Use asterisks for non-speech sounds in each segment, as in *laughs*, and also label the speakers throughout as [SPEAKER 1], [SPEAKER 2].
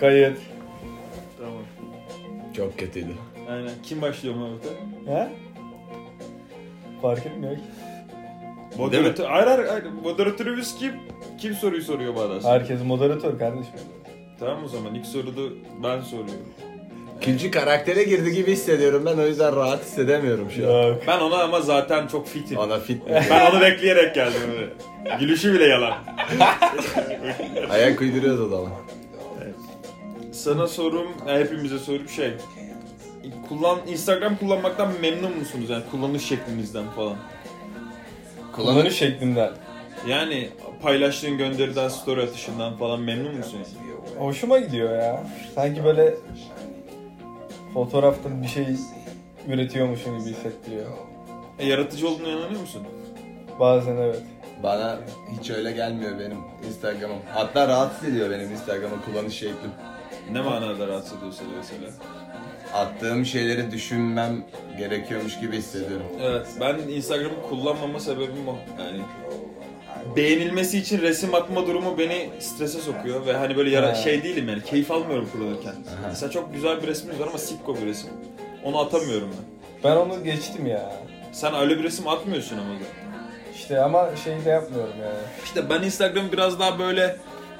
[SPEAKER 1] Kayıt. Tamam.
[SPEAKER 2] Çok kötüydü.
[SPEAKER 1] Aynen. Kim başlıyor Mahmut'a?
[SPEAKER 3] He? Fark etmiyor ki.
[SPEAKER 1] Moderatör. Hayır hayır. hayır. Moderatörümüz kim? Kim soruyu soruyor bana aslında?
[SPEAKER 3] Herkes moderatör kardeşim.
[SPEAKER 1] Tamam o zaman. ilk soruda ben soruyorum.
[SPEAKER 2] Külcü karaktere girdi gibi hissediyorum ben o yüzden rahat
[SPEAKER 1] *laughs*
[SPEAKER 2] hissedemiyorum şu an.
[SPEAKER 3] Yok.
[SPEAKER 1] Ben ona ama zaten çok fitim.
[SPEAKER 2] Ona fit mi?
[SPEAKER 1] ben onu bekleyerek geldim. buraya. Gülüşü bile yalan.
[SPEAKER 2] Ayak uyduruyoruz o zaman.
[SPEAKER 1] Sana sorum, yani hepimize sorum şey. Kullan, Instagram kullanmaktan memnun musunuz? Yani kullanış şeklinizden falan.
[SPEAKER 3] Kullanış şeklimden.
[SPEAKER 1] Yani paylaştığın gönderiden story atışından falan memnun musun? yani?
[SPEAKER 3] Hoşuma gidiyor ya. Sanki böyle fotoğrafta bir şey üretiyormuşum gibi hissettiriyor.
[SPEAKER 1] E, yaratıcı olduğuna inanıyor musun?
[SPEAKER 3] Bazen evet.
[SPEAKER 2] Bana hiç öyle gelmiyor benim Instagram'ım. Hatta rahatsız ediyor benim Instagram'ın kullanış şeklim.
[SPEAKER 1] Ne manada rahatsız ediyor seni mesela?
[SPEAKER 2] Attığım şeyleri düşünmem gerekiyormuş gibi hissediyorum.
[SPEAKER 1] Evet, ben Instagram'ı kullanmama sebebim o. Yani beğenilmesi için resim atma durumu beni strese sokuyor ve hani böyle yara
[SPEAKER 3] Ha.
[SPEAKER 1] şey değilim yani keyif almıyorum kullanırken. Mesela çok güzel bir resmimiz var ama sikko bir resim. Onu atamıyorum ben.
[SPEAKER 3] Ben onu geçtim ya.
[SPEAKER 1] Sen öyle bir resim atmıyorsun ama da.
[SPEAKER 3] İşte ama şey de yapmıyorum yani.
[SPEAKER 1] İşte ben Instagram'ı biraz daha böyle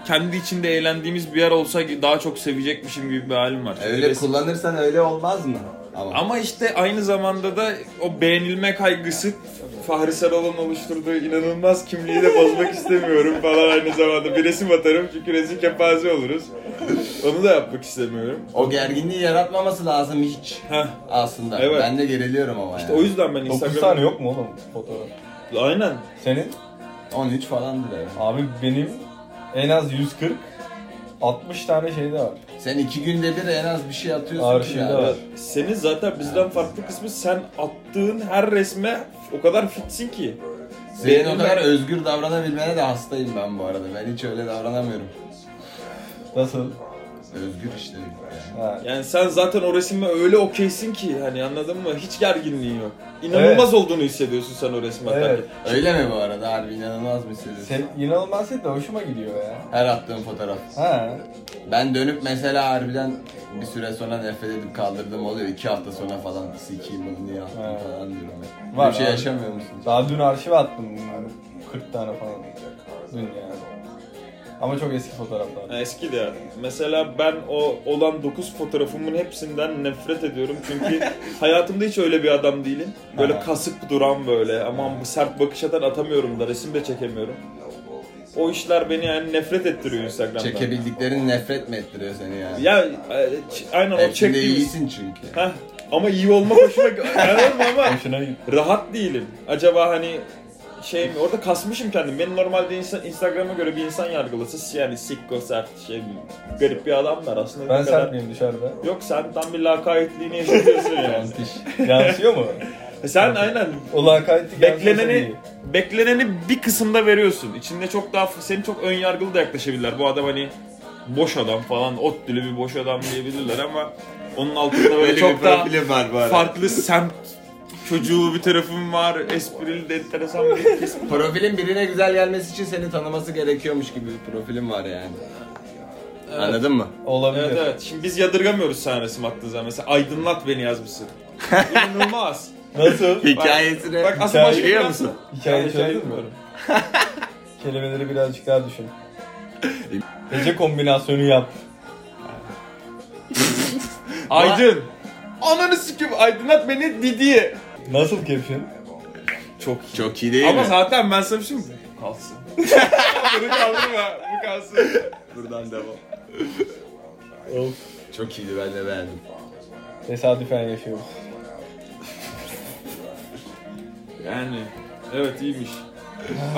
[SPEAKER 1] kendi içinde eğlendiğimiz bir yer olsa daha çok sevecekmişim gibi bir halim var. Çünkü
[SPEAKER 2] Öyle
[SPEAKER 1] resim-
[SPEAKER 2] kullanırsan öyle olmaz mı? Ama,
[SPEAKER 1] Ama işte aynı zamanda da o beğenilme kaygısı Fahri Saral'ın oluşturduğu inanılmaz kimliği de bozmak istemiyorum falan aynı zamanda. Bir resim atarım çünkü resim kepaze oluruz. Onu da yapmak istemiyorum.
[SPEAKER 2] o gerginliği yaratmaması lazım hiç
[SPEAKER 1] Heh.
[SPEAKER 2] aslında.
[SPEAKER 1] Evet.
[SPEAKER 2] Ben de geriliyorum ama
[SPEAKER 1] İşte
[SPEAKER 2] yani.
[SPEAKER 1] o yüzden ben
[SPEAKER 3] 9 tane
[SPEAKER 1] Instagram'ı...
[SPEAKER 3] yok mu oğlum fotoğraf?
[SPEAKER 1] Aynen.
[SPEAKER 3] Senin?
[SPEAKER 2] 13 falandır herhalde.
[SPEAKER 3] Abi benim en az 140 60 tane şey de var.
[SPEAKER 2] Sen iki günde bir en az bir şey atıyorsun ki
[SPEAKER 3] Arşivde
[SPEAKER 2] yani.
[SPEAKER 3] var.
[SPEAKER 1] Senin zaten bizden farklı kısmı sen attığın her resme o kadar fitsin ki.
[SPEAKER 2] Senin
[SPEAKER 1] Benim
[SPEAKER 2] o kadar
[SPEAKER 1] ben-
[SPEAKER 2] özgür davranabilmene de hastayım ben bu arada. Ben hiç öyle davranamıyorum.
[SPEAKER 3] Nasıl?
[SPEAKER 2] Özgür işte. yani.
[SPEAKER 3] Ha.
[SPEAKER 1] Yani sen zaten o resimle öyle okeysin ki hani anladın mı? Hiç gerginliğin yok. İnanılmaz olduğunu hissediyorsun sen o resmi atarken.
[SPEAKER 3] Evet.
[SPEAKER 2] Öyle mi bu arada? Harbi inanılmaz bir sürü.
[SPEAKER 3] Sen inanılmaz de hoşuma gidiyor ya.
[SPEAKER 2] Her attığım fotoğraf.
[SPEAKER 3] Ha.
[SPEAKER 2] Ben dönüp mesela harbiden bir süre sonra nefret edip kaldırdım oluyor. iki hafta sonra falan sikiyim bunu niye attım
[SPEAKER 3] Ha.
[SPEAKER 2] falan diyorum. Ben.
[SPEAKER 3] Var
[SPEAKER 2] bir şey
[SPEAKER 3] abi.
[SPEAKER 2] yaşamıyor musunuz?
[SPEAKER 3] Daha dün arşive attım bunları. 40 tane falan. Dün yani. Ama çok eski fotoğraflar.
[SPEAKER 1] Ha, Eski de ya. Mesela ben o olan 9 fotoğrafımın hepsinden nefret ediyorum çünkü hayatımda hiç öyle bir adam değilim. Böyle kasık duran böyle aman bu sert bakış atan atamıyorum da resim de çekemiyorum. O işler beni yani nefret ettiriyor Instagram'dan.
[SPEAKER 2] Çekebildiklerin nefret mi ettiriyor seni yani?
[SPEAKER 1] Ya e, ç- aynen o
[SPEAKER 2] Hepsinde
[SPEAKER 1] çektiğimiz.
[SPEAKER 2] iyisin çünkü.
[SPEAKER 1] Heh, ama iyi olma hoşuma
[SPEAKER 3] *laughs*
[SPEAKER 1] Anladın mı ama
[SPEAKER 3] Hoşuna gitti.
[SPEAKER 1] rahat değilim. Acaba hani şey mi orada kasmışım kendim. Beni normalde insan, Instagram'a göre bir insan yargılasa yani sikko sert şey garip bir adamlar aslında.
[SPEAKER 3] Ben
[SPEAKER 1] ne kadar-
[SPEAKER 3] sert miyim dışarıda?
[SPEAKER 1] Yok sen tam bir lakaytliğini yaşıyorsun
[SPEAKER 3] *laughs*
[SPEAKER 1] yani. E
[SPEAKER 2] Yanlış.
[SPEAKER 3] Yansıyor mu?
[SPEAKER 1] sen aynen
[SPEAKER 3] O lakaytlık
[SPEAKER 1] bekleneni bekleneni bir kısımda veriyorsun. İçinde çok daha seni çok ön yargılı da yaklaşabilirler. Bu adam hani boş adam falan, ot dili bir boş adam diyebilirler ama onun altında böyle çok daha
[SPEAKER 2] var bu
[SPEAKER 1] farklı semt çocuğu bir tarafım var. Esprili de enteresan bir *laughs*
[SPEAKER 2] Profilin birine güzel gelmesi için seni tanıması gerekiyormuş gibi bir profilin var yani. Anladın mı?
[SPEAKER 3] Olabilir.
[SPEAKER 1] Evet evet. Şimdi biz yadırgamıyoruz sen resim attığın zaman. Mesela aydınlat beni yazmışsın. İnanılmaz.
[SPEAKER 3] Nasıl?
[SPEAKER 2] Hikayesine
[SPEAKER 1] Bak aslında başka
[SPEAKER 2] biliyor
[SPEAKER 1] bir-
[SPEAKER 2] musun?
[SPEAKER 3] Hikayeyi
[SPEAKER 1] Yani şey
[SPEAKER 3] söyledin mi?
[SPEAKER 1] yapmıyorum.
[SPEAKER 3] Kelimeleri birazcık daha düşün. Gece kombinasyonu yap.
[SPEAKER 1] Aydın. Ananı sikeyim aydınlat beni Didi'ye.
[SPEAKER 3] Nasıl caption?
[SPEAKER 1] Çok
[SPEAKER 2] Çok iyi değil
[SPEAKER 1] Ama
[SPEAKER 2] mi?
[SPEAKER 1] zaten ben sana bir şey mi? *laughs* Kalsın. Bunu kaldırma. Bu kalsın.
[SPEAKER 2] Buradan devam.
[SPEAKER 3] Of.
[SPEAKER 2] Çok iyiydi ben de beğendim.
[SPEAKER 3] Tesadüfen yaşıyoruz.
[SPEAKER 1] Yani evet iyiymiş.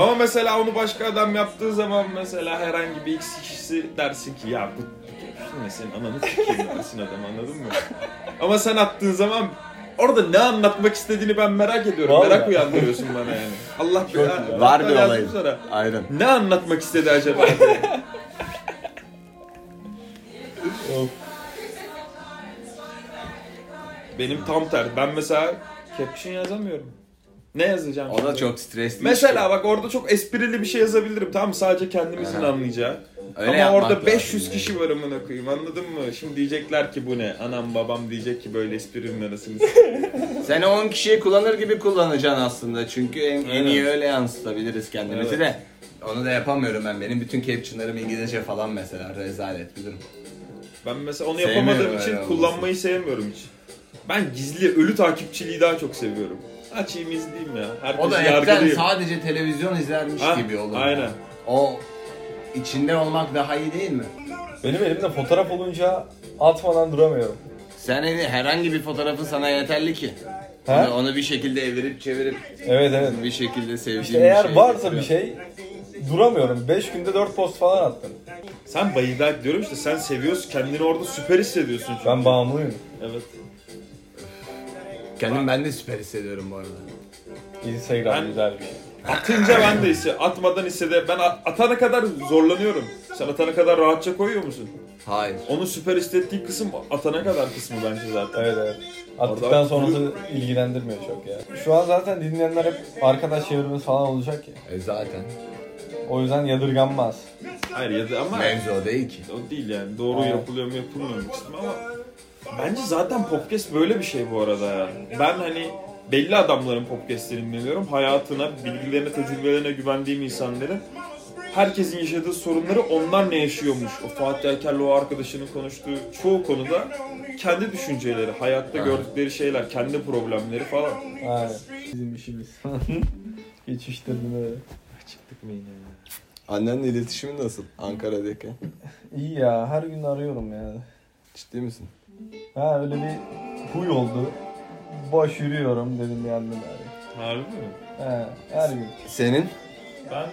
[SPEAKER 1] Ama mesela onu başka adam yaptığı zaman mesela herhangi bir X kişisi dersin ki ya bu bu ne senin ananı sikeyim dersin adam anladın mı? Ama sen attığın zaman orada ne anlatmak istediğini ben merak ediyorum.
[SPEAKER 3] Vallahi.
[SPEAKER 1] Merak uyandırıyorsun bana yani. Allah
[SPEAKER 3] Çok
[SPEAKER 1] Allah-
[SPEAKER 3] iyi.
[SPEAKER 2] Var
[SPEAKER 1] Allah
[SPEAKER 2] bir
[SPEAKER 1] yazdım
[SPEAKER 2] olayım.
[SPEAKER 1] sana.
[SPEAKER 2] Aynen.
[SPEAKER 1] Ne anlatmak istedi
[SPEAKER 2] *laughs*
[SPEAKER 1] acaba?
[SPEAKER 3] Of.
[SPEAKER 1] Benim tam tersi. Ben mesela caption yazamıyorum. Ne yazacağım?
[SPEAKER 2] O da
[SPEAKER 1] şimdi?
[SPEAKER 2] çok stresli.
[SPEAKER 1] Mesela bak orada çok esprili bir şey yazabilirim tamam mı? Sadece kendimizin
[SPEAKER 2] Aha.
[SPEAKER 1] anlayacağı.
[SPEAKER 2] Öyle
[SPEAKER 1] Ama
[SPEAKER 2] yapmak
[SPEAKER 1] orada
[SPEAKER 2] lazım
[SPEAKER 1] 500
[SPEAKER 2] yani.
[SPEAKER 1] kişi var amına koyayım anladın mı? Şimdi diyecekler ki bu ne? Anam babam diyecek ki böyle esprinin arasını s-
[SPEAKER 2] şey. Sen 10 kişiyi kullanır gibi kullanacaksın aslında. Çünkü en, en iyi
[SPEAKER 1] Evet.
[SPEAKER 2] öyle yansıtabiliriz kendimizi
[SPEAKER 1] Evet.
[SPEAKER 2] de. Onu da yapamıyorum ben. Benim bütün captionlarım İngilizce falan mesela. Rezalet bir durum.
[SPEAKER 1] Ben mesela onu
[SPEAKER 2] Sevmiyorum
[SPEAKER 1] yapamadığım
[SPEAKER 2] öyle
[SPEAKER 1] için
[SPEAKER 2] olması.
[SPEAKER 1] kullanmayı sevmiyorum hiç. Ben gizli ölü takipçiliği daha çok seviyorum. Açayım izleyeyim ya. Herkesi
[SPEAKER 2] O da eskiden
[SPEAKER 1] yargılayayım.
[SPEAKER 2] sadece televizyon izlermiş
[SPEAKER 1] Ha,
[SPEAKER 2] gibi olur.
[SPEAKER 1] aynen.
[SPEAKER 2] O içinde olmak daha iyi değil mi?
[SPEAKER 3] Benim elimde fotoğraf olunca atmadan duramıyorum.
[SPEAKER 2] Sen hani herhangi bir fotoğrafı sana yeterli ki.
[SPEAKER 3] Ha?
[SPEAKER 2] Onu, onu bir şekilde evirip çevirip
[SPEAKER 3] Evet evet.
[SPEAKER 2] bir şekilde sevdiğin
[SPEAKER 3] İşte
[SPEAKER 2] bir
[SPEAKER 3] eğer
[SPEAKER 2] şey
[SPEAKER 3] varsa
[SPEAKER 2] getiriyor.
[SPEAKER 3] bir şey duramıyorum. 5 günde 4 post falan attım.
[SPEAKER 1] Sen bayıldak diyorum işte sen seviyorsun kendini orada süper hissediyorsun çünkü.
[SPEAKER 3] Ben bağımlıyım.
[SPEAKER 1] Evet.
[SPEAKER 3] şey-
[SPEAKER 2] Kendim ben de süper hissediyorum bu arada.
[SPEAKER 3] Instagram
[SPEAKER 1] Ben-
[SPEAKER 3] güzel bir şey.
[SPEAKER 1] Atınca ben de hisse, atmadan hissede. Ben a- atana kadar zorlanıyorum. Sen atana kadar rahatça koyuyor musun?
[SPEAKER 2] Hayır.
[SPEAKER 1] Onun süper hissettiği kısım atana kadar kısmı bence zaten.
[SPEAKER 3] Evet evet. Attıktan
[SPEAKER 1] Orada-
[SPEAKER 3] sonrası ilgilendirmiyor çok ya. Şu an zaten dinleyenler hep arkadaş çevirmesi falan olacak ya.
[SPEAKER 2] E zaten.
[SPEAKER 3] O yüzden yadırganmaz.
[SPEAKER 1] Hayır ya da ama
[SPEAKER 2] Mevzu o değil ki.
[SPEAKER 1] o değil yani doğru
[SPEAKER 3] Aynen.
[SPEAKER 1] yapılıyor mu yapılmıyor mu kısmı ama bence zaten podcast böyle bir şey bu arada ya. Ben hani belli adamların podcastlerini dinliyorum. Hayatına, bilgilerine, tecrübelerine güvendiğim insanların herkesin yaşadığı sorunları onlar ne yaşıyormuş. O Fatih Erker'le o arkadaşının konuştuğu çoğu konuda kendi düşünceleri, hayatta
[SPEAKER 2] Ha.
[SPEAKER 1] gördükleri şeyler, kendi problemleri falan.
[SPEAKER 3] Aynen. Bizim işimiz. *laughs* Geçiştirdim öyle.
[SPEAKER 1] Çıktık mı yine? ya?
[SPEAKER 2] Annenle iletişimin nasıl? Ankara'daki.
[SPEAKER 3] İyi ya her gün arıyorum yani.
[SPEAKER 2] Ciddi misin?
[SPEAKER 3] Ha öyle bir huy oldu. Boş yürüyorum dedim yandım bari.
[SPEAKER 1] Harbi mi?
[SPEAKER 3] He her gün.
[SPEAKER 2] Senin?
[SPEAKER 1] Ben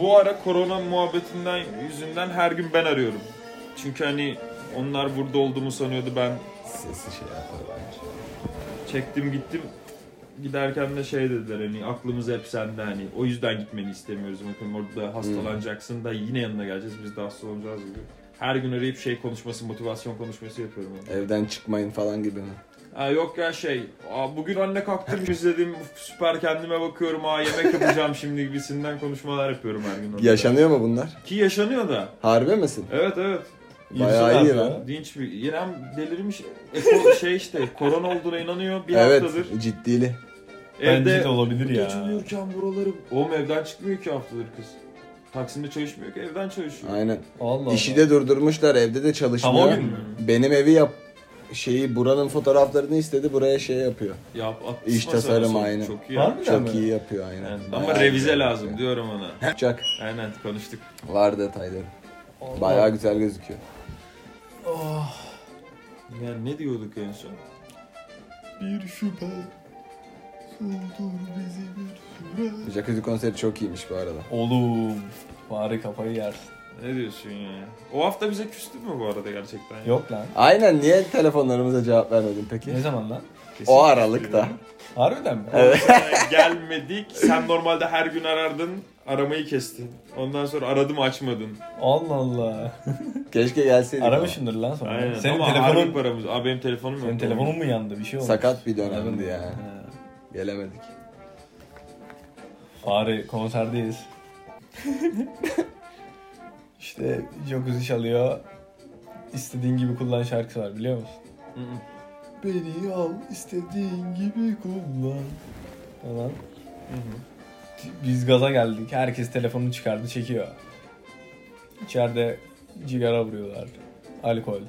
[SPEAKER 1] bu ara korona muhabbetinden yüzünden her gün ben arıyorum. Çünkü hani onlar burada olduğumu sanıyordu ben
[SPEAKER 2] Sesi şey yapar bence.
[SPEAKER 1] çektim gittim. Giderken de şey dediler hani aklımız hep sende hani o yüzden gitmeni istemiyoruz. Bakın orada hastalanacaksın da yine yanına geleceğiz biz de hastalanacağız gibi. Her gün arayıp şey konuşması, motivasyon konuşması yapıyorum. Yani.
[SPEAKER 2] Evden çıkmayın falan gibi mi?
[SPEAKER 1] Ha, yok ya şey, aa, bugün anne kalktım *laughs* izledim, uf, süper kendime bakıyorum, aa yemek yapacağım şimdi gibisinden konuşmalar yapıyorum her gün. orada.
[SPEAKER 2] Yaşanıyor mu bunlar?
[SPEAKER 1] Ki yaşanıyor da.
[SPEAKER 2] Harbi misin?
[SPEAKER 1] Evet evet.
[SPEAKER 2] Bayağı iyi
[SPEAKER 3] İnsan
[SPEAKER 2] lan.
[SPEAKER 3] ya.
[SPEAKER 1] Dinç bir. İrem delirmiş. Eko,
[SPEAKER 3] *laughs*
[SPEAKER 1] şey işte korona olduğuna inanıyor. Bir
[SPEAKER 2] evet,
[SPEAKER 1] haftadır
[SPEAKER 2] ciddili.
[SPEAKER 3] Bence
[SPEAKER 1] evde
[SPEAKER 3] de olabilir ya.
[SPEAKER 1] gece uyurken buraları. Oğlum evden çıkmıyor ki haftadır kız. Taksim'de çalışmıyor ki evden çalışıyor.
[SPEAKER 2] Aynen.
[SPEAKER 3] Allah
[SPEAKER 2] İşi
[SPEAKER 3] Allah.
[SPEAKER 2] de durdurmuşlar, evde de çalışmıyor.
[SPEAKER 3] Tam o gün mü?
[SPEAKER 2] Benim evi yap şeyi buranın fotoğraflarını istedi buraya şey yapıyor.
[SPEAKER 1] Ya at,
[SPEAKER 2] İş tasarım aynı.
[SPEAKER 1] Çok iyi. ya.
[SPEAKER 3] Var mı? Harbiden
[SPEAKER 2] Çok
[SPEAKER 3] mi?
[SPEAKER 2] iyi yapıyor aynen.
[SPEAKER 1] Yani, ama
[SPEAKER 2] Bayağı
[SPEAKER 1] revize
[SPEAKER 2] güzel
[SPEAKER 1] lazım
[SPEAKER 2] yapıyor.
[SPEAKER 1] diyorum ona.
[SPEAKER 2] Yapacak.
[SPEAKER 1] Aynen konuştuk.
[SPEAKER 2] Var detayları.
[SPEAKER 3] Allah.
[SPEAKER 2] Bayağı güzel gözüküyor.
[SPEAKER 3] Oh.
[SPEAKER 1] Yani ne diyorduk en son?
[SPEAKER 2] Bir şüphe. Jacuzzi konseri çok iyiymiş bu arada.
[SPEAKER 3] Oğlum. Bari kafayı yersin.
[SPEAKER 1] Ne diyorsun ya? O hafta bize küstün mü bu arada gerçekten?
[SPEAKER 3] Yok lan.
[SPEAKER 2] Aynen niye telefonlarımıza cevap vermedin peki?
[SPEAKER 3] Ne zaman lan?
[SPEAKER 1] Kesin
[SPEAKER 2] O
[SPEAKER 1] küstün
[SPEAKER 2] aralıkta.
[SPEAKER 1] ya.
[SPEAKER 3] Harbiden mi?
[SPEAKER 2] Evet.
[SPEAKER 1] Ee, *laughs* gelmedik. Sen normalde her gün arardın. Aramayı kestin. Ondan sonra aradım açmadın.
[SPEAKER 3] Allah Allah.
[SPEAKER 2] Keşke gelseydik.
[SPEAKER 3] Aramışımdır lan sonra.
[SPEAKER 1] Aynen.
[SPEAKER 3] Senin
[SPEAKER 1] Ama harbi
[SPEAKER 3] telefonun
[SPEAKER 1] paramız. Aa benim telefonum yok.
[SPEAKER 3] senin telefonun mu yandı bir şey oldu?
[SPEAKER 2] Sakat bir dönemdi
[SPEAKER 3] Aradım.
[SPEAKER 2] ya. Gelemedik.
[SPEAKER 3] Bari
[SPEAKER 2] *laughs*
[SPEAKER 3] konserdeyiz. işte jacuzzi çalıyor. İstediğin gibi kullan şarkısı var biliyor musun?
[SPEAKER 1] Hı hı.
[SPEAKER 3] Beni al istediğin gibi kullan. Falan.
[SPEAKER 1] Hı hı.
[SPEAKER 3] Biz gaza geldik. Herkes telefonunu çıkardı çekiyor. İçeride cigara vuruyorlar. Alkol.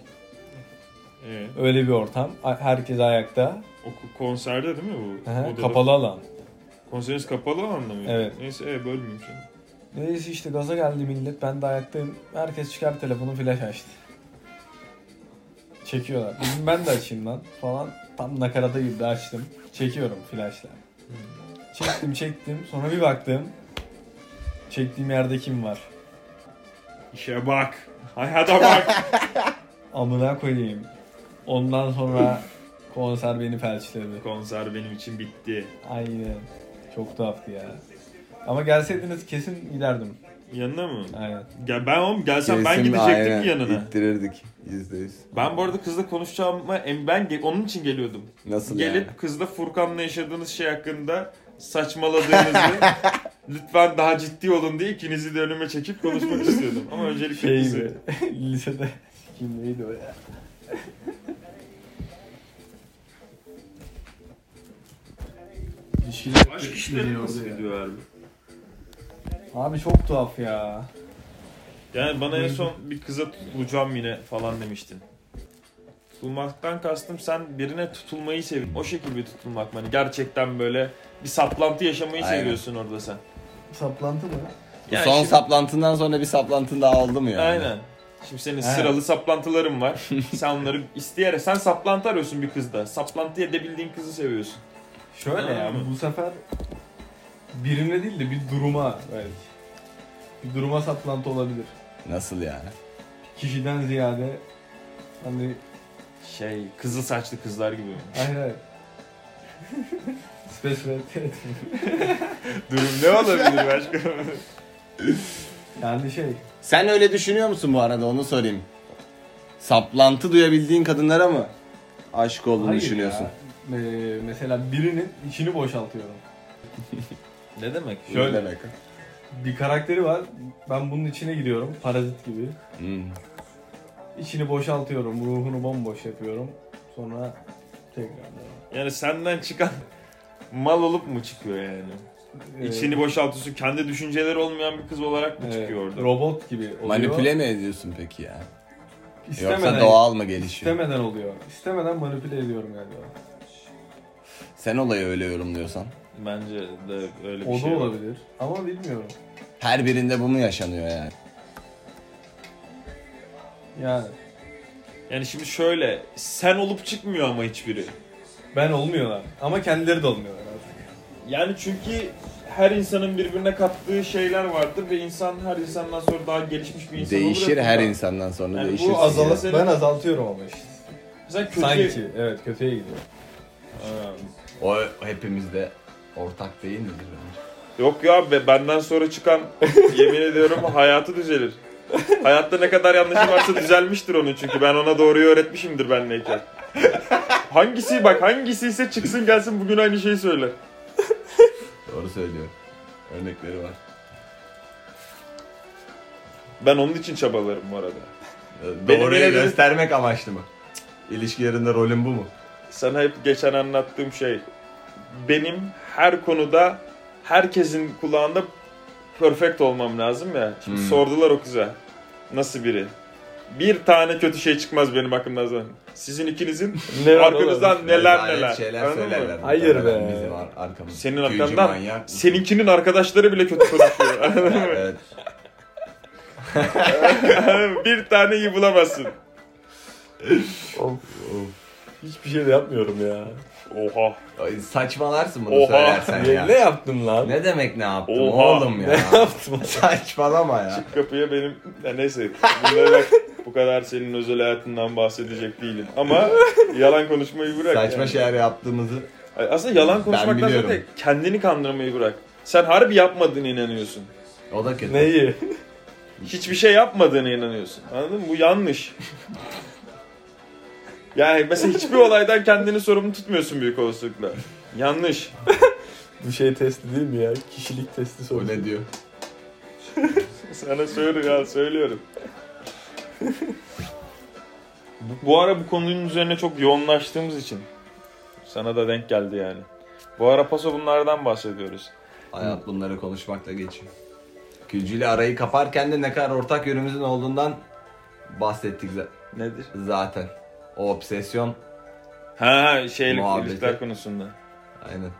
[SPEAKER 1] Ee,
[SPEAKER 3] Öyle bir ortam. A- Herkes ayakta.
[SPEAKER 1] o ko- konserde değil mi bu?
[SPEAKER 3] Aha,
[SPEAKER 1] Odada-
[SPEAKER 3] kapalı alan.
[SPEAKER 1] Konseriniz kapalı anlamı mı?
[SPEAKER 3] Evet.
[SPEAKER 1] Neyse e, bölmeyeyim şimdi.
[SPEAKER 3] Neyse işte gaza geldi millet. Ben de ayaktayım. Herkes çıkar telefonu flash açtı. Çekiyorlar. Bizim ben de açayım lan falan. Tam nakarata girdi açtım. Çekiyorum flashla. Çektim çektim. Sonra bir baktım. Çektiğim yerde kim var?
[SPEAKER 1] İşe bak. Hayata bak.
[SPEAKER 3] Amına koyayım. Ondan sonra konser beni felçledi.
[SPEAKER 1] Konser benim için bitti.
[SPEAKER 3] Aynen. Çok tuhaftı ya. Ama gelseydiniz kesin giderdim.
[SPEAKER 1] Yanına mı?
[SPEAKER 3] Aynen.
[SPEAKER 1] Ya ben oğlum gelsem ben
[SPEAKER 2] Kesin
[SPEAKER 1] gidecektim
[SPEAKER 2] aynen,
[SPEAKER 1] ki yanına.
[SPEAKER 2] İttirirdik yüzde yüz.
[SPEAKER 1] Ben bu arada kızla konuşacağıma em- ben ge- onun için geliyordum.
[SPEAKER 2] Nasıl
[SPEAKER 1] Gelip
[SPEAKER 2] yani?
[SPEAKER 1] kızla Furkan'la yaşadığınız şey hakkında saçmaladığınızı lütfen daha ciddi olun diye ikinizi de önüme çekip konuşmak istiyordum. Ama öncelikle
[SPEAKER 3] Şey
[SPEAKER 1] kızı.
[SPEAKER 3] gibi. lisede kim neydi o ya? İlişkiler
[SPEAKER 1] Aşk işleri nasıl
[SPEAKER 3] ya.
[SPEAKER 1] gidiyor abi?
[SPEAKER 3] Abi çok tuhaf ya.
[SPEAKER 1] Yani bana en son bir kıza tutulacağım yine falan demiştin. Tutulmaktan kastım sen birine tutulmayı seviyorsun. O şekilde bir tutulmak. Hani gerçekten böyle bir saplantı yaşamayı
[SPEAKER 2] Aynen.
[SPEAKER 1] seviyorsun orada sen.
[SPEAKER 3] Saplantı mı?
[SPEAKER 2] Bu
[SPEAKER 1] Yani
[SPEAKER 2] son
[SPEAKER 1] şimdi-
[SPEAKER 2] saplantından sonra bir saplantın daha oldu mu yani?
[SPEAKER 1] Aynen. Şimdi senin
[SPEAKER 3] Ha.
[SPEAKER 1] sıralı saplantıların *laughs* var. sen onları isteyerek sen saplantı arıyorsun bir kızda. Saplantı edebildiğin kızı seviyorsun.
[SPEAKER 3] Şöyle
[SPEAKER 1] Ha,
[SPEAKER 3] ya
[SPEAKER 1] mı?
[SPEAKER 3] bu sefer birine değil de bir duruma belki. Bir duruma saplantı olabilir.
[SPEAKER 2] Nasıl yani?
[SPEAKER 3] Kişiden ziyade hani
[SPEAKER 1] Şey, kızıl saçlı kızlar gibi.
[SPEAKER 3] hayır hayır. *laughs* Spesifik.
[SPEAKER 1] *laughs* Durum ne olabilir başka?
[SPEAKER 3] yani şey.
[SPEAKER 2] Sen öyle düşünüyor musun bu arada onu sorayım. Saplantı duyabildiğin kadınlara mı aşık olduğunu
[SPEAKER 3] hayır
[SPEAKER 2] düşünüyorsun?
[SPEAKER 3] ya. Ee, mesela birinin içini boşaltıyorum.
[SPEAKER 1] ne demek?
[SPEAKER 2] Bu ne
[SPEAKER 1] Şöyle.
[SPEAKER 2] demek?
[SPEAKER 3] Bir karakteri var. Ben bunun içine gidiyorum. Parazit gibi.
[SPEAKER 2] Hmm.
[SPEAKER 3] İçini boşaltıyorum. Ruhunu bomboş yapıyorum. Sonra tekrar.
[SPEAKER 1] Yani senden çıkan *laughs* mal olup mu çıkıyor yani?
[SPEAKER 3] Ee, e,
[SPEAKER 1] İçini boşaltıyorsun. Kendi düşünceleri olmayan bir kız olarak mı çıkıyor orada?
[SPEAKER 3] Robot gibi oluyor.
[SPEAKER 2] Manipüle mi ediyorsun peki ya?
[SPEAKER 3] İstemeden-
[SPEAKER 2] Yoksa doğal mı gelişiyor?
[SPEAKER 3] İstemeden oluyor. İstemeden manipüle ediyorum galiba.
[SPEAKER 2] Sen olayı öyle yorumluyorsan.
[SPEAKER 1] Bence de öyle bir
[SPEAKER 3] O
[SPEAKER 1] şey.
[SPEAKER 3] da
[SPEAKER 1] var.
[SPEAKER 3] olabilir. Ama bilmiyorum.
[SPEAKER 2] Her birinde bunu yaşanıyor yani.
[SPEAKER 3] Yani
[SPEAKER 1] Yani şimdi şöyle, sen olup çıkmıyor ama hiçbiri.
[SPEAKER 3] ben olmuyorlar. Ama kendileri de olmuyorlar artık.
[SPEAKER 1] Yani çünkü her insanın birbirine kattığı şeyler vardır ve insan her insandan sonra daha gelişmiş bir insan olur.
[SPEAKER 2] Değişir
[SPEAKER 1] ya.
[SPEAKER 2] her insandan sonra
[SPEAKER 1] Yani bu
[SPEAKER 2] değişir.
[SPEAKER 1] Kesin azalır. ya.
[SPEAKER 3] ben azaltıyorum ama işte.
[SPEAKER 1] Mesela kötü...
[SPEAKER 3] Sanki. Evet kötüye gidiyor.
[SPEAKER 1] Ha.
[SPEAKER 2] O hepimizde ortak değil midir bence?
[SPEAKER 1] Yok ya be, benden sonra çıkan yemin ediyorum hayatı düzelir. Hayatta ne kadar yanlışı varsa düzelmiştir onun çünkü ben ona doğruyu öğretmişimdir benleyken. Hangisi bak hangisi ise çıksın gelsin bugün aynı şeyi söyle.
[SPEAKER 2] Doğru söylüyor. Örnekleri var.
[SPEAKER 1] Ben onun için çabalarım bu arada. Benim
[SPEAKER 2] Doğruyu
[SPEAKER 1] yine de-
[SPEAKER 2] göstermek amaçlı mı? İlişki yerinde rolün bu mu?
[SPEAKER 1] Sana hep geçen anlattığım şey benim her konuda herkesin kulağında perfect olmam lazım ya. Şimdi
[SPEAKER 2] Hmm.
[SPEAKER 1] sordular o kıza. Nasıl biri? Bir tane kötü şey çıkmaz benim hakkımda zaten. Sizin ikinizin
[SPEAKER 3] Ne var
[SPEAKER 1] arkanızdan
[SPEAKER 3] oğlum?
[SPEAKER 1] neler
[SPEAKER 2] Rezalet
[SPEAKER 1] neler.
[SPEAKER 2] şeyler
[SPEAKER 1] Anladın mı?
[SPEAKER 2] söylerler.
[SPEAKER 3] Hayır
[SPEAKER 2] Muhtemelen
[SPEAKER 3] be.
[SPEAKER 2] Bizim ar- arkamız.
[SPEAKER 1] Senin
[SPEAKER 2] Büyücü
[SPEAKER 1] arkandan
[SPEAKER 2] manyak mısın?
[SPEAKER 1] Seninkinin arkadaşları bile kötü konuşuyor. *laughs* Anladın mı?
[SPEAKER 2] *laughs* Evet.
[SPEAKER 1] bir tane iyi bulamazsın.
[SPEAKER 3] Hiçbir şey de yapmıyorum ya.
[SPEAKER 1] Oha.
[SPEAKER 2] Ay, Saçmalarsın bunu
[SPEAKER 1] Oha.
[SPEAKER 2] söylersen ya.
[SPEAKER 3] Ne yaptım lan?
[SPEAKER 2] Ne demek ne yaptım
[SPEAKER 1] Oha.
[SPEAKER 2] oğlum ya?
[SPEAKER 3] Ne yaptım?
[SPEAKER 2] *laughs* Saçmalama ya.
[SPEAKER 1] Çık kapıya benim... Ya neyse. Bunları bak, bu kadar senin özel hayatından bahsedecek değilim. Ama yalan konuşmayı bırak.
[SPEAKER 2] Saçma
[SPEAKER 1] yani.
[SPEAKER 2] şeyler yaptığımızı.
[SPEAKER 1] Ay, Aslında yalan konuşmaktan
[SPEAKER 2] biliyorum.
[SPEAKER 1] ziyade kendini kandırmayı bırak. Sen harbi yapmadığını inanıyorsun.
[SPEAKER 2] O da kötü.
[SPEAKER 3] Neyi? *laughs*
[SPEAKER 1] Hiçbir şey yapmadığını inanıyorsun. Anladın mı? Bu yanlış. Yani mesela hiçbir olaydan kendini sorumlu tutmuyorsun büyük olasılıkla. Yanlış.
[SPEAKER 3] Bu şey testi değil mi ya? Kişilik testi
[SPEAKER 2] O ne diyor?
[SPEAKER 1] Sana söylüyorum ya söylüyorum. bu, bu ara bu konunun üzerine çok yoğunlaştığımız için sana da denk geldi yani. Bu ara paso bunlardan bahsediyoruz.
[SPEAKER 2] Hayat bunları konuşmakla geçiyor. Külcüyle arayı kaparken de ne kadar ortak yönümüzün olduğundan bahsettik za-
[SPEAKER 1] Nedir?
[SPEAKER 2] zaten. O obsesyon.
[SPEAKER 1] Ha şeylik
[SPEAKER 2] Muhabbeti.
[SPEAKER 1] ilişkiler konusunda.
[SPEAKER 2] Aynen.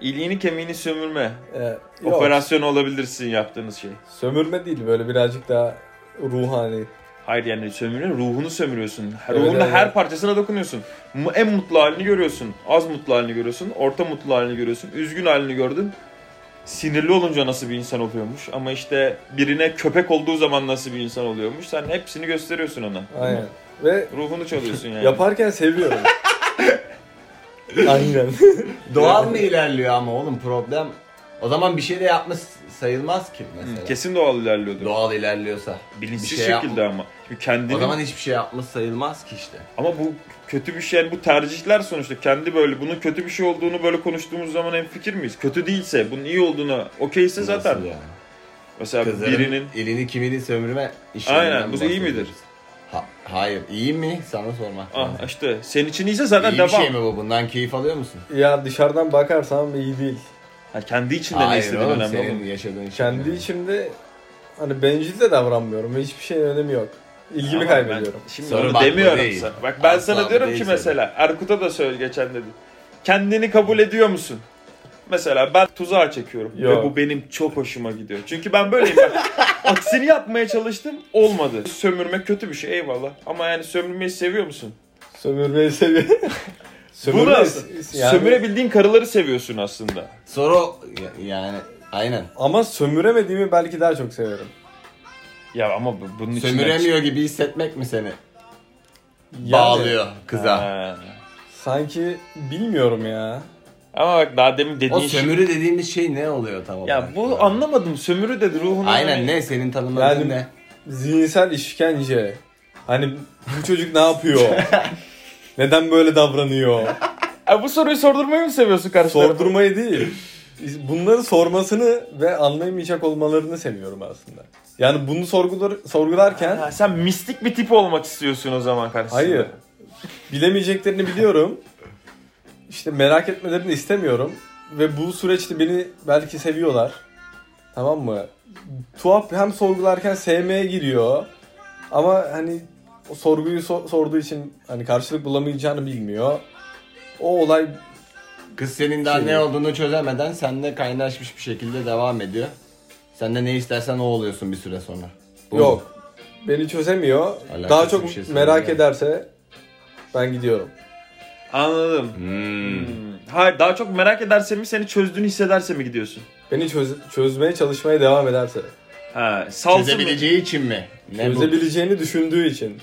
[SPEAKER 1] İliğini kemiğini sömürme.
[SPEAKER 4] Ee, yok.
[SPEAKER 1] Operasyon olabilirsin yaptığınız şey.
[SPEAKER 4] Sömürme değil böyle birazcık daha ruhani.
[SPEAKER 1] Hayır yani sömürüyor ruhunu sömürüyorsun.
[SPEAKER 4] Evet,
[SPEAKER 1] Ruhunun
[SPEAKER 4] evet,
[SPEAKER 1] her
[SPEAKER 4] evet.
[SPEAKER 1] parçasına dokunuyorsun. Mu- En mutlu halini görüyorsun. Az mutlu halini görüyorsun. Orta mutlu halini görüyorsun. Üzgün halini gördün. Sinirli olunca nasıl bir insan oluyormuş. Ama işte birine köpek olduğu zaman nasıl bir insan oluyormuş. Sen hepsini gösteriyorsun ona.
[SPEAKER 4] Aynen. Ve
[SPEAKER 1] Ruhunu
[SPEAKER 4] *laughs*
[SPEAKER 1] çalıyorsun yani.
[SPEAKER 4] yaparken
[SPEAKER 1] *laughs*
[SPEAKER 4] seviyorum. Aynen.
[SPEAKER 2] Doğal mı ilerliyor ama oğlum problem O zaman bir şey de yapmış sayılmaz ki mesela.
[SPEAKER 1] Hı, Kesin doğal ilerliyordur.
[SPEAKER 2] Doğal ilerliyorsa.
[SPEAKER 1] Bilinçsiz
[SPEAKER 2] bir şey
[SPEAKER 1] şekilde ama. Şimdi kendini...
[SPEAKER 2] O zaman hiçbir şey yapmış sayılmaz ki işte.
[SPEAKER 1] Ama bu kötü bir şey. Yani bu tercihler sonuçta. Kendi böyle bunun kötü bir şey olduğunu böyle konuştuğumuz zaman en fikir miyiz? Kötü değilse, bunun iyi olduğunu okeyse zaten.
[SPEAKER 2] Nasıl yani?
[SPEAKER 1] Mesela
[SPEAKER 2] Kızların
[SPEAKER 1] birinin...
[SPEAKER 2] elini kimini sömürme işlerinden
[SPEAKER 1] Aynen. Bu iyi
[SPEAKER 2] bahsediyoruz.
[SPEAKER 1] midir?
[SPEAKER 2] Ha- hayır. İyi mi? Sana sormak. lazım.
[SPEAKER 1] Ah işte senin için iyiyse zaten
[SPEAKER 2] iyi
[SPEAKER 1] devam.
[SPEAKER 2] bir şey mi bu? Bundan keyif alıyor musun?
[SPEAKER 3] Ya dışarıdan bakarsam iyi değil.
[SPEAKER 1] Ha, kendi içinde ne
[SPEAKER 2] Hayır
[SPEAKER 1] istediğin
[SPEAKER 2] oğlum
[SPEAKER 1] önemli.
[SPEAKER 2] senin
[SPEAKER 1] oğlum.
[SPEAKER 2] yaşadığın şey.
[SPEAKER 3] Kendi
[SPEAKER 2] önemli.
[SPEAKER 3] içimde hani bencil de davranmıyorum. Hiçbir şeyin önemi yok. İlgimi
[SPEAKER 1] Ama
[SPEAKER 3] kaybediyorum.
[SPEAKER 1] Ben, şimdi
[SPEAKER 2] Sorun
[SPEAKER 1] onu
[SPEAKER 2] bak, bu
[SPEAKER 1] demiyorum
[SPEAKER 2] değil.
[SPEAKER 1] sana. Bak ben
[SPEAKER 2] Asla
[SPEAKER 1] sana
[SPEAKER 2] bu
[SPEAKER 1] diyorum
[SPEAKER 2] değil
[SPEAKER 1] ki
[SPEAKER 2] sorun.
[SPEAKER 1] mesela Erkut'a da söyle geçen dedi. Kendini kabul ediyor musun? Mesela ben tuzağa çekiyorum
[SPEAKER 3] Yok.
[SPEAKER 1] ve bu benim çok hoşuma gidiyor. Çünkü ben böyleyim ben.
[SPEAKER 2] *laughs*
[SPEAKER 1] Aksini yapmaya çalıştım olmadı. Sömürmek kötü bir şey eyvallah. Ama yani sömürmeyi seviyor musun?
[SPEAKER 3] Sömürmeyi
[SPEAKER 1] *laughs*
[SPEAKER 3] seviyorum.
[SPEAKER 1] Bunu
[SPEAKER 3] Sömürmeyi
[SPEAKER 1] as-
[SPEAKER 3] yani-
[SPEAKER 1] Sömürebildiğin karıları seviyorsun aslında.
[SPEAKER 2] Soru ya- yani aynen.
[SPEAKER 3] Ama sömüremediğimi belki daha çok severim.
[SPEAKER 1] Ya ama bu- bunun için...
[SPEAKER 2] Sömüremiyor gibi hissetmek mi seni?
[SPEAKER 3] Yani
[SPEAKER 2] Bağlıyor kıza.
[SPEAKER 3] Sanki bilmiyorum ya.
[SPEAKER 1] Ama bak daha demin dediğin
[SPEAKER 2] O
[SPEAKER 1] şey-
[SPEAKER 2] sömürü dediğimiz şey ne oluyor tam olarak?
[SPEAKER 1] Ya bu anlamadım. Sömürü dedi ruhunu.
[SPEAKER 2] Aynen ne senin tanımladığın
[SPEAKER 3] Yani-
[SPEAKER 2] ne?
[SPEAKER 3] Zihinsel işkence. Hani bu çocuk ne yapıyor? Neden böyle davranıyor?
[SPEAKER 1] E, bu soruyu sordurmayı mı seviyorsun karşı tarafa?
[SPEAKER 3] Sordurmayı değil. Bunları sormasını ve anlayamayacak olmalarını seviyorum aslında. Yani bunu sorgular, sorgularken
[SPEAKER 1] Ha, sen mistik bir tip olmak istiyorsun o zaman karşısında.
[SPEAKER 3] hayır. Bilemeyeceklerini biliyorum. İşte merak etmelerini istemiyorum. Ve bu süreçte beni belki seviyorlar. Tamam mı? Tuhaf hem sorgularken sevmeye giriyor. Ama hani o sorguyu so- sorduğu için hani karşılık bulamayacağını bilmiyor. O olay
[SPEAKER 2] Kız senin daha
[SPEAKER 3] Şey-
[SPEAKER 2] ne olduğunu çözemeden seninle kaynaşmış bir şekilde devam ediyor. Sen de ne istersen o oluyorsun bir süre sonra. Bu mu?
[SPEAKER 3] Yok. Beni çözemiyor.
[SPEAKER 2] Alakasız
[SPEAKER 3] Daha çok
[SPEAKER 2] bir şey söylüyor.
[SPEAKER 3] merak ederse ben gidiyorum.
[SPEAKER 1] Anladım.
[SPEAKER 2] Hmm.
[SPEAKER 1] Hmm. Hayır daha çok merak ederse mi seni çözdüğünü hissederse mi gidiyorsun?
[SPEAKER 3] Beni çöz- çözmeye çalışmaya devam ederse.
[SPEAKER 1] Ha, salsın mı?
[SPEAKER 2] Çözebileceği için mi? Ne bu?
[SPEAKER 3] Çözebileceğini düşündüğü için.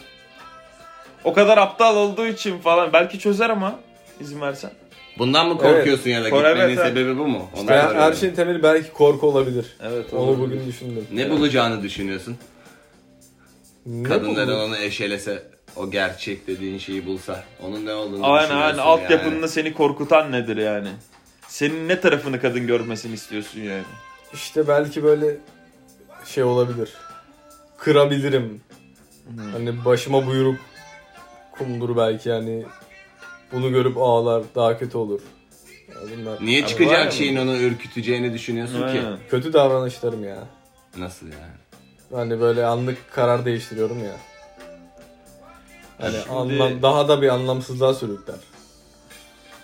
[SPEAKER 1] O kadar aptal olduğu için falan. Belki çözer ama izin versen.
[SPEAKER 2] Bundan mı korkuyorsun ya da
[SPEAKER 1] Korebe-
[SPEAKER 2] gitmenin sebebi bu mu? Onu
[SPEAKER 3] Ve her şey-
[SPEAKER 2] soruyorum.
[SPEAKER 3] şeyin temeli belki korku olabilir.
[SPEAKER 1] Evet.
[SPEAKER 3] Onu bugün düşündüm.
[SPEAKER 2] Ne bulacağını düşünüyorsun?
[SPEAKER 3] Ne
[SPEAKER 2] Kadınların
[SPEAKER 3] buldun?
[SPEAKER 2] onu eşelese, o gerçek dediğin şeyi bulsa, onun ne olduğunu
[SPEAKER 1] Aynen aynen.
[SPEAKER 2] düşünüyorsun
[SPEAKER 1] Altyapında
[SPEAKER 2] yani.
[SPEAKER 1] seni korkutan nedir yani? Senin ne tarafını kadın görmesini istiyorsun yani?
[SPEAKER 3] İşte belki böyle şey olabilir. Kırabilirim. Hani başıma buyruk kumdur belki yani. Bunu görüp ağlar daha kötü olur. Ya bunlar
[SPEAKER 2] Niye
[SPEAKER 1] Abi var mı?
[SPEAKER 2] çıkacak şeyin onu ürküteceğini düşünüyorsun
[SPEAKER 1] Aynen.
[SPEAKER 2] ki?
[SPEAKER 3] kötü davranışlarım ya.
[SPEAKER 2] Nasıl yani?
[SPEAKER 3] Hani böyle anlık karar değiştiriyorum ya. Hani
[SPEAKER 1] Şimdi-
[SPEAKER 3] anlam, daha da bir anlamsızlığa sürükler.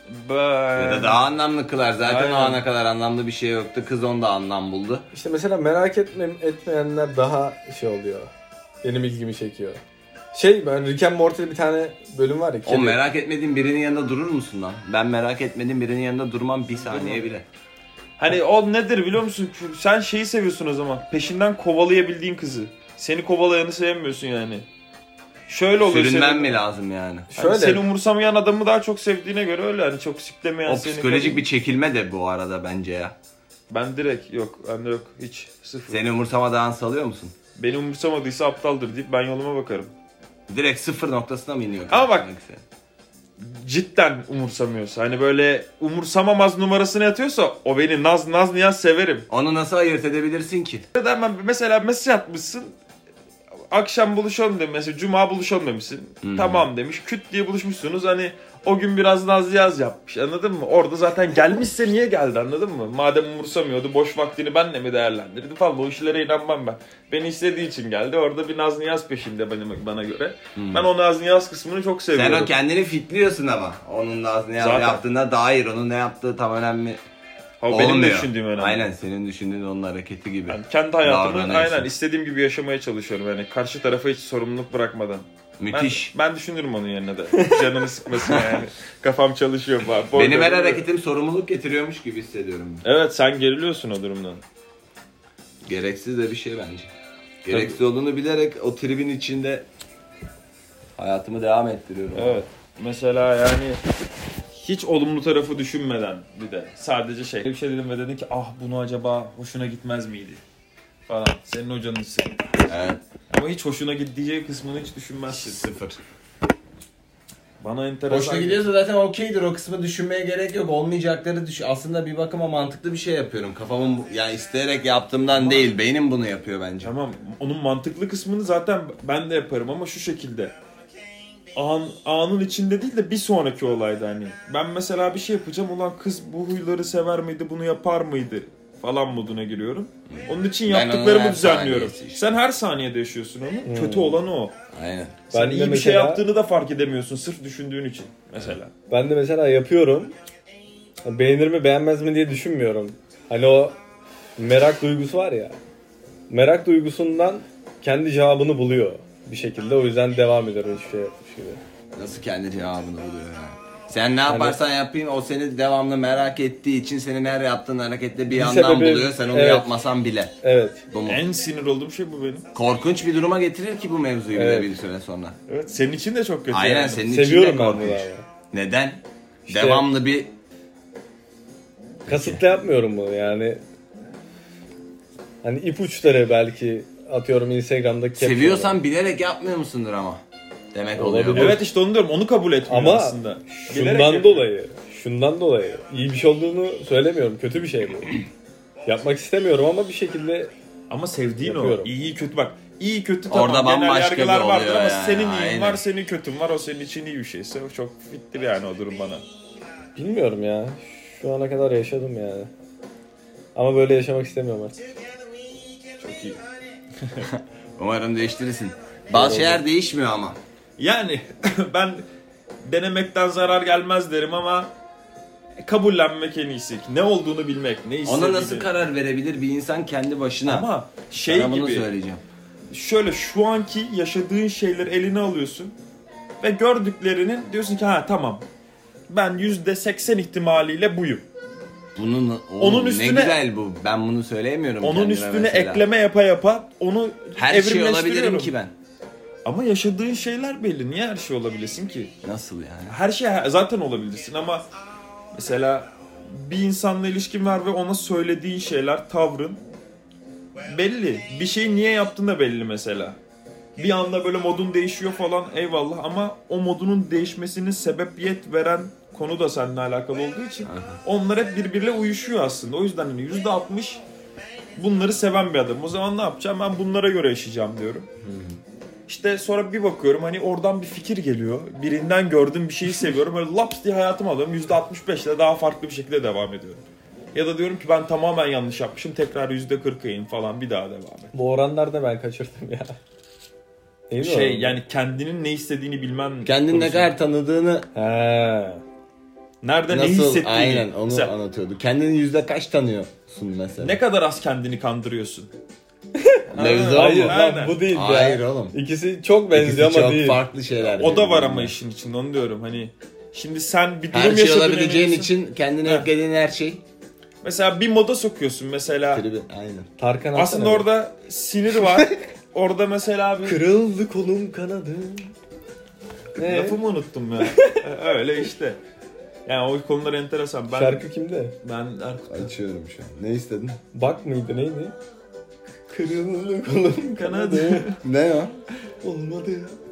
[SPEAKER 2] Ya
[SPEAKER 1] Ben...
[SPEAKER 2] da daha anlamlı kılar. Zaten
[SPEAKER 1] Aynen.
[SPEAKER 2] o ana kadar anlamlı bir şey yoktu. Kız onda anlam buldu.
[SPEAKER 3] İşte mesela merak etme, etmeyenler daha şey oluyor. Benim ilgimi çekiyor. Şey ben Rick and Morty'de bir tane bölüm var ya.
[SPEAKER 2] O
[SPEAKER 3] kedi.
[SPEAKER 2] merak etmediğin birinin yanında durur musun lan? Ben merak etmediğim birinin yanında durmam bir saniye bile.
[SPEAKER 1] Hani o nedir biliyor musun? Sen şeyi seviyorsun o zaman. Peşinden kovalayabildiğin kızı. Seni kovalayanı sevmiyorsun yani. Şöyle oluyor.
[SPEAKER 2] Sürünmen
[SPEAKER 1] senin-
[SPEAKER 2] mi lazım yani?
[SPEAKER 1] Hani
[SPEAKER 3] Şöyle
[SPEAKER 1] seni umursamayan adamı daha çok sevdiğine göre öyle hani çok siklemeyen
[SPEAKER 2] O psikolojik bir çekilme de bu arada bence ya.
[SPEAKER 1] Ben direkt yok ben de yok hiç sıfır.
[SPEAKER 2] Seni umursamadan salıyor musun?
[SPEAKER 1] Beni umursamadıysa aptaldır deyip ben yoluma bakarım.
[SPEAKER 2] Direkt sıfır noktasına mı iniyor?
[SPEAKER 1] Ama bak-
[SPEAKER 2] Yoksa-
[SPEAKER 1] Cidden umursamıyorsa hani böyle umursamamaz numarasını yatıyorsa o beni naz naz niyaz severim.
[SPEAKER 2] Onu nasıl ayırt edebilirsin ki?
[SPEAKER 1] Neden ben mesela mesaj atmışsın akşam buluşalım demiş. Mesela cuma buluşalım demişsin. Tamam demiş. Küt diye buluşmuşsunuz. Hani o gün biraz naz yaz yapmış. Anladın mı? Orada zaten gelmişse niye geldi anladın mı? Madem umursamıyordu boş vaktini benle mi değerlendirdi falan. O işlere inanmam ben. Beni istediği için geldi. Orada bir naz niyaz peşinde benim, bana göre. Ben o naz niyaz kısmını çok
[SPEAKER 2] Sen
[SPEAKER 1] seviyorum.
[SPEAKER 2] o kendini fitliyorsun ama. Onun da ne yap-
[SPEAKER 1] Zaten.
[SPEAKER 2] yaptığına dair onun ne yaptığı tam önemli
[SPEAKER 1] Ha, o benim
[SPEAKER 2] olmuyor.
[SPEAKER 1] de düşündüğüm önemli.
[SPEAKER 2] Aynen senin düşündüğün onun hareketi gibi.
[SPEAKER 1] Ben kendi hayatımı
[SPEAKER 2] Davranıyorsun.
[SPEAKER 1] aynen istediğim gibi yaşamaya çalışıyorum. Yani karşı tarafa hiç sorumluluk bırakmadan.
[SPEAKER 2] Müthiş.
[SPEAKER 1] Ben, ben düşünürüm onun yerine de. Canını sıkmasın yani. *laughs* Kafam çalışıyor falan. Bu
[SPEAKER 2] Benim her
[SPEAKER 1] arada-
[SPEAKER 2] hareketim sorumluluk getiriyormuş gibi hissediyorum.
[SPEAKER 1] Evet sen geriliyorsun o durumdan.
[SPEAKER 2] Gereksiz de bir şey bence. Gereksiz olduğunu bilerek o tribin içinde hayatımı devam ettiriyorum.
[SPEAKER 1] Evet. Mesela yani Hiç olumlu tarafı düşünmeden bir de. Sadece şey. Bir şey dedim ve dedin ki ah bunu acaba hoşuna gitmez miydi? Falan. Senin hocanın hissi.
[SPEAKER 2] Evet.
[SPEAKER 1] Ama hiç hoşuna gideceği kısmını hiç düşünmezsin.
[SPEAKER 2] Sıfır.
[SPEAKER 1] Bana enteresan.
[SPEAKER 2] Hoşuna gidiyorsa zaten okeydir o kısmı düşünmeye gerek yok. Olmayacakları düşün. Aslında bir bakıma mantıklı bir şey yapıyorum. Kafamın bu- yani isteyerek yaptığımdan değil. Beynim bunu yapıyor bence.
[SPEAKER 1] Tamam. Onun mantıklı kısmını zaten ben de yaparım ama şu şekilde. An, anın içinde değil de bir sonraki olayda hani. Ben mesela bir şey yapacağım. Ulan kız bu huyları sever miydi? Bunu yapar mıydı? Falan moduna giriyorum. Onun için
[SPEAKER 2] Ben onun
[SPEAKER 1] yaptıklarımı
[SPEAKER 2] her
[SPEAKER 1] düzenliyorum.
[SPEAKER 2] saniyesi işte.
[SPEAKER 1] Sen her saniyede yaşıyorsun onu. Kötü olan o.
[SPEAKER 2] Aynen.
[SPEAKER 1] Sen
[SPEAKER 3] Hmm. Ben de
[SPEAKER 1] iyi bir şey
[SPEAKER 3] mesela-
[SPEAKER 1] yaptığını da fark edemiyorsun. Sırf düşündüğün için mesela.
[SPEAKER 3] Ben de mesela yapıyorum. Beğenir mi beğenmez mi diye düşünmüyorum. Hani o merak duygusu var ya. Merak duygusundan kendi cevabını buluyor bir şekilde. O yüzden devam eder öyle şey yapmış gibi.
[SPEAKER 2] Nasıl kendi cevabını buluyor yani? Sen ne yaparsan yapayım o seni devamlı merak ettiği için senin her yaptığın harekette bir, yandan
[SPEAKER 3] sebebi-
[SPEAKER 2] buluyor. Sen onu
[SPEAKER 3] evet.
[SPEAKER 2] yapmasan bile.
[SPEAKER 3] Evet.
[SPEAKER 2] Bu mu?
[SPEAKER 1] En sinir olduğum şey bu benim.
[SPEAKER 2] Korkunç bir duruma getirir ki bu mevzuyu
[SPEAKER 3] Evet.
[SPEAKER 2] bile bir süre sonra.
[SPEAKER 1] Evet. Senin için de çok kötü.
[SPEAKER 2] Aynen
[SPEAKER 1] yani.
[SPEAKER 2] senin için
[SPEAKER 3] Seviyorum
[SPEAKER 2] de
[SPEAKER 3] ben bunu
[SPEAKER 2] korkunç.
[SPEAKER 3] abi.
[SPEAKER 2] Neden? Devamlı bir
[SPEAKER 3] Kasıtlı yapmıyorum bunu yani. Hani ipuçları belki atıyorum Instagram'da caption'da.
[SPEAKER 2] seviyorsan bilerek yapmıyor musundur ama. Demek oluyor.
[SPEAKER 3] Olabilir.
[SPEAKER 2] bu.
[SPEAKER 1] Evet işte onu diyorum. Onu kabul etmiyor
[SPEAKER 3] Ama
[SPEAKER 1] aslında. Bilerek
[SPEAKER 3] Şundan
[SPEAKER 1] yapıyor.
[SPEAKER 3] dolayı, şundan dolayı iyi bir şey olduğunu söylemiyorum. Kötü bir şey bu. Yapmak istemiyorum ama bir şekilde
[SPEAKER 1] Ama sevdiğin
[SPEAKER 3] Yapıyorum.
[SPEAKER 1] o. İyi kötü bak. İyi kötü
[SPEAKER 2] Orada
[SPEAKER 1] tamam genel
[SPEAKER 2] bambaşka
[SPEAKER 1] yargılar
[SPEAKER 2] bir
[SPEAKER 1] vardır
[SPEAKER 2] oluyor
[SPEAKER 1] ama
[SPEAKER 2] yani,
[SPEAKER 1] senin iyin
[SPEAKER 2] aynen.
[SPEAKER 1] var, senin kötün var. O senin için iyi bir şeyse o çok fittir yani o durum bana.
[SPEAKER 3] bilmiyorum ya. Şu ana kadar yaşadım yani. Ama böyle yaşamak istemiyorum artık.
[SPEAKER 1] Çok iyi.
[SPEAKER 2] Umarım değiştirirsin. Bazı şeyler değişmiyor ama.
[SPEAKER 1] Yani *laughs* ben denemekten zarar gelmez derim ama kabullenmek en iyisi. Ne olduğunu bilmek, ne
[SPEAKER 2] Ona
[SPEAKER 1] istediğini.
[SPEAKER 2] nasıl karar verebilir bir insan kendi başına?
[SPEAKER 1] Ama şey
[SPEAKER 2] Sana bunu
[SPEAKER 1] gibi
[SPEAKER 2] söyleyeceğim.
[SPEAKER 1] şöyle şu anki yaşadığın şeyleri eline alıyorsun ve gördüklerinin diyorsun ki ha tamam ben %80 ihtimaliyle buyum.
[SPEAKER 2] Bunun
[SPEAKER 1] Onun
[SPEAKER 2] onun
[SPEAKER 1] üstüne-
[SPEAKER 2] ne güzel bu. Ben bunu söyleyemiyorum
[SPEAKER 1] Onun
[SPEAKER 2] kendime
[SPEAKER 1] üstüne
[SPEAKER 2] mesela.
[SPEAKER 1] ekleme yapa yapa onu
[SPEAKER 2] her şey
[SPEAKER 1] evrimleştiriyorum.
[SPEAKER 2] olabilirim ki ben.
[SPEAKER 1] Ama yaşadığın şeyler belli. Niye her şey olabilirsin ki?
[SPEAKER 2] Nasıl yani?
[SPEAKER 1] Her şey zaten olabilirsin ama mesela bir insanla ilişkin var ve ona söylediğin şeyler, tavrın belli. Bir şeyi niye yaptığın da belli mesela. Bir anda böyle modun değişiyor falan eyvallah ama o modunun değişmesinin sebebiyet veren konu da seninle alakalı olduğu için onlar hep birbiriyle uyuşuyor aslında. O yüzden hani %60 bunları seven bir adam. O zaman ne yapacağım? Ben bunlara göre yaşayacağım diyorum. İşte sonra bir bakıyorum hani oradan bir fikir geliyor. Birinden gördüğüm bir şeyi seviyorum. Böyle laps diye hayatıma alıyorum. %65 ile daha farklı bir şekilde devam ediyorum. Ya da diyorum ki ben tamamen yanlış yapmışım. Tekrar %40'a in falan bir daha devam et.
[SPEAKER 3] Bu oranlarda ben kaçırdım ya. Değil mi
[SPEAKER 1] Şey
[SPEAKER 3] oğlum?
[SPEAKER 1] yani kendinin ne istediğini bilmen.
[SPEAKER 2] Kendini ne
[SPEAKER 1] konusunda.
[SPEAKER 2] kadar tanıdığını
[SPEAKER 3] Ha.
[SPEAKER 1] Nerede ne
[SPEAKER 2] nasıl
[SPEAKER 1] hissettiğini.
[SPEAKER 2] aynen onu
[SPEAKER 1] Mesela
[SPEAKER 2] anlatıyordu. Kendini yüzde kaç tanıyorsun mesela?
[SPEAKER 1] ne kadar az kendini kandırıyorsun.
[SPEAKER 2] Mevzu o
[SPEAKER 3] Hayır
[SPEAKER 2] mu?
[SPEAKER 1] Aynen.
[SPEAKER 3] lan bu değil ya.
[SPEAKER 2] Hayır oğlum.
[SPEAKER 3] İkisi çok
[SPEAKER 2] İkisi
[SPEAKER 3] benziyor ama
[SPEAKER 2] çok
[SPEAKER 3] değil.
[SPEAKER 2] farklı şeyler.
[SPEAKER 1] O da var
[SPEAKER 2] birbirine.
[SPEAKER 1] ama işin içinde onu diyorum. Hani şimdi sen bir durum
[SPEAKER 2] Her şey
[SPEAKER 1] yaşadın
[SPEAKER 2] olabileceğin
[SPEAKER 1] emiyorsun.
[SPEAKER 2] için kendine
[SPEAKER 1] Heh.
[SPEAKER 2] eklediğin her şey.
[SPEAKER 1] Mesela bir moda sokuyorsun mesela.
[SPEAKER 2] Tribi. Aynen.
[SPEAKER 3] Tarkan
[SPEAKER 1] Aslında
[SPEAKER 3] Alsana.
[SPEAKER 1] orada sinir
[SPEAKER 2] *laughs*
[SPEAKER 1] var. orada mesela bir
[SPEAKER 3] Kırıldı kolum kanadı. Ee,
[SPEAKER 1] Lafımı unuttum ya. *laughs* Öyle işte. Yani o konular enteresan. Ben
[SPEAKER 3] Şarkı kimde?
[SPEAKER 1] ben Erkut'un
[SPEAKER 2] Açıyorum şu an. Ne istedin? *laughs*
[SPEAKER 3] Bak mıydı neydi? Kırıldı kolum
[SPEAKER 1] kanadı
[SPEAKER 2] Ne o?
[SPEAKER 3] olmadı.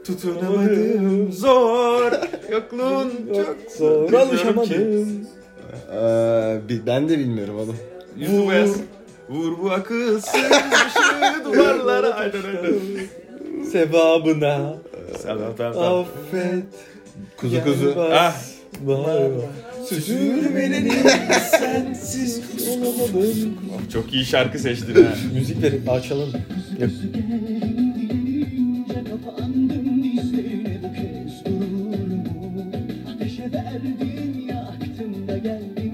[SPEAKER 1] tutunamadım zor yokluğun çok
[SPEAKER 3] Çok zor
[SPEAKER 1] Bilmiyorum
[SPEAKER 3] alışamadım.
[SPEAKER 2] Ee, bi- ben de bilmiyorum oğlum.
[SPEAKER 1] Yusuf Ez. Vur bu akılsız ışığı duvarlara aynen aynen.
[SPEAKER 3] Sebabına
[SPEAKER 1] Sen ben ben.
[SPEAKER 3] affet.
[SPEAKER 2] Kuzu kuzu.
[SPEAKER 1] Ah.
[SPEAKER 3] Var Süzül beni
[SPEAKER 1] Sensiz.
[SPEAKER 3] olamadım.
[SPEAKER 1] Çok iyi şarkı seçtin ha.
[SPEAKER 3] Müzikleri açalım.
[SPEAKER 5] Ateşe verdin yaktın da geldin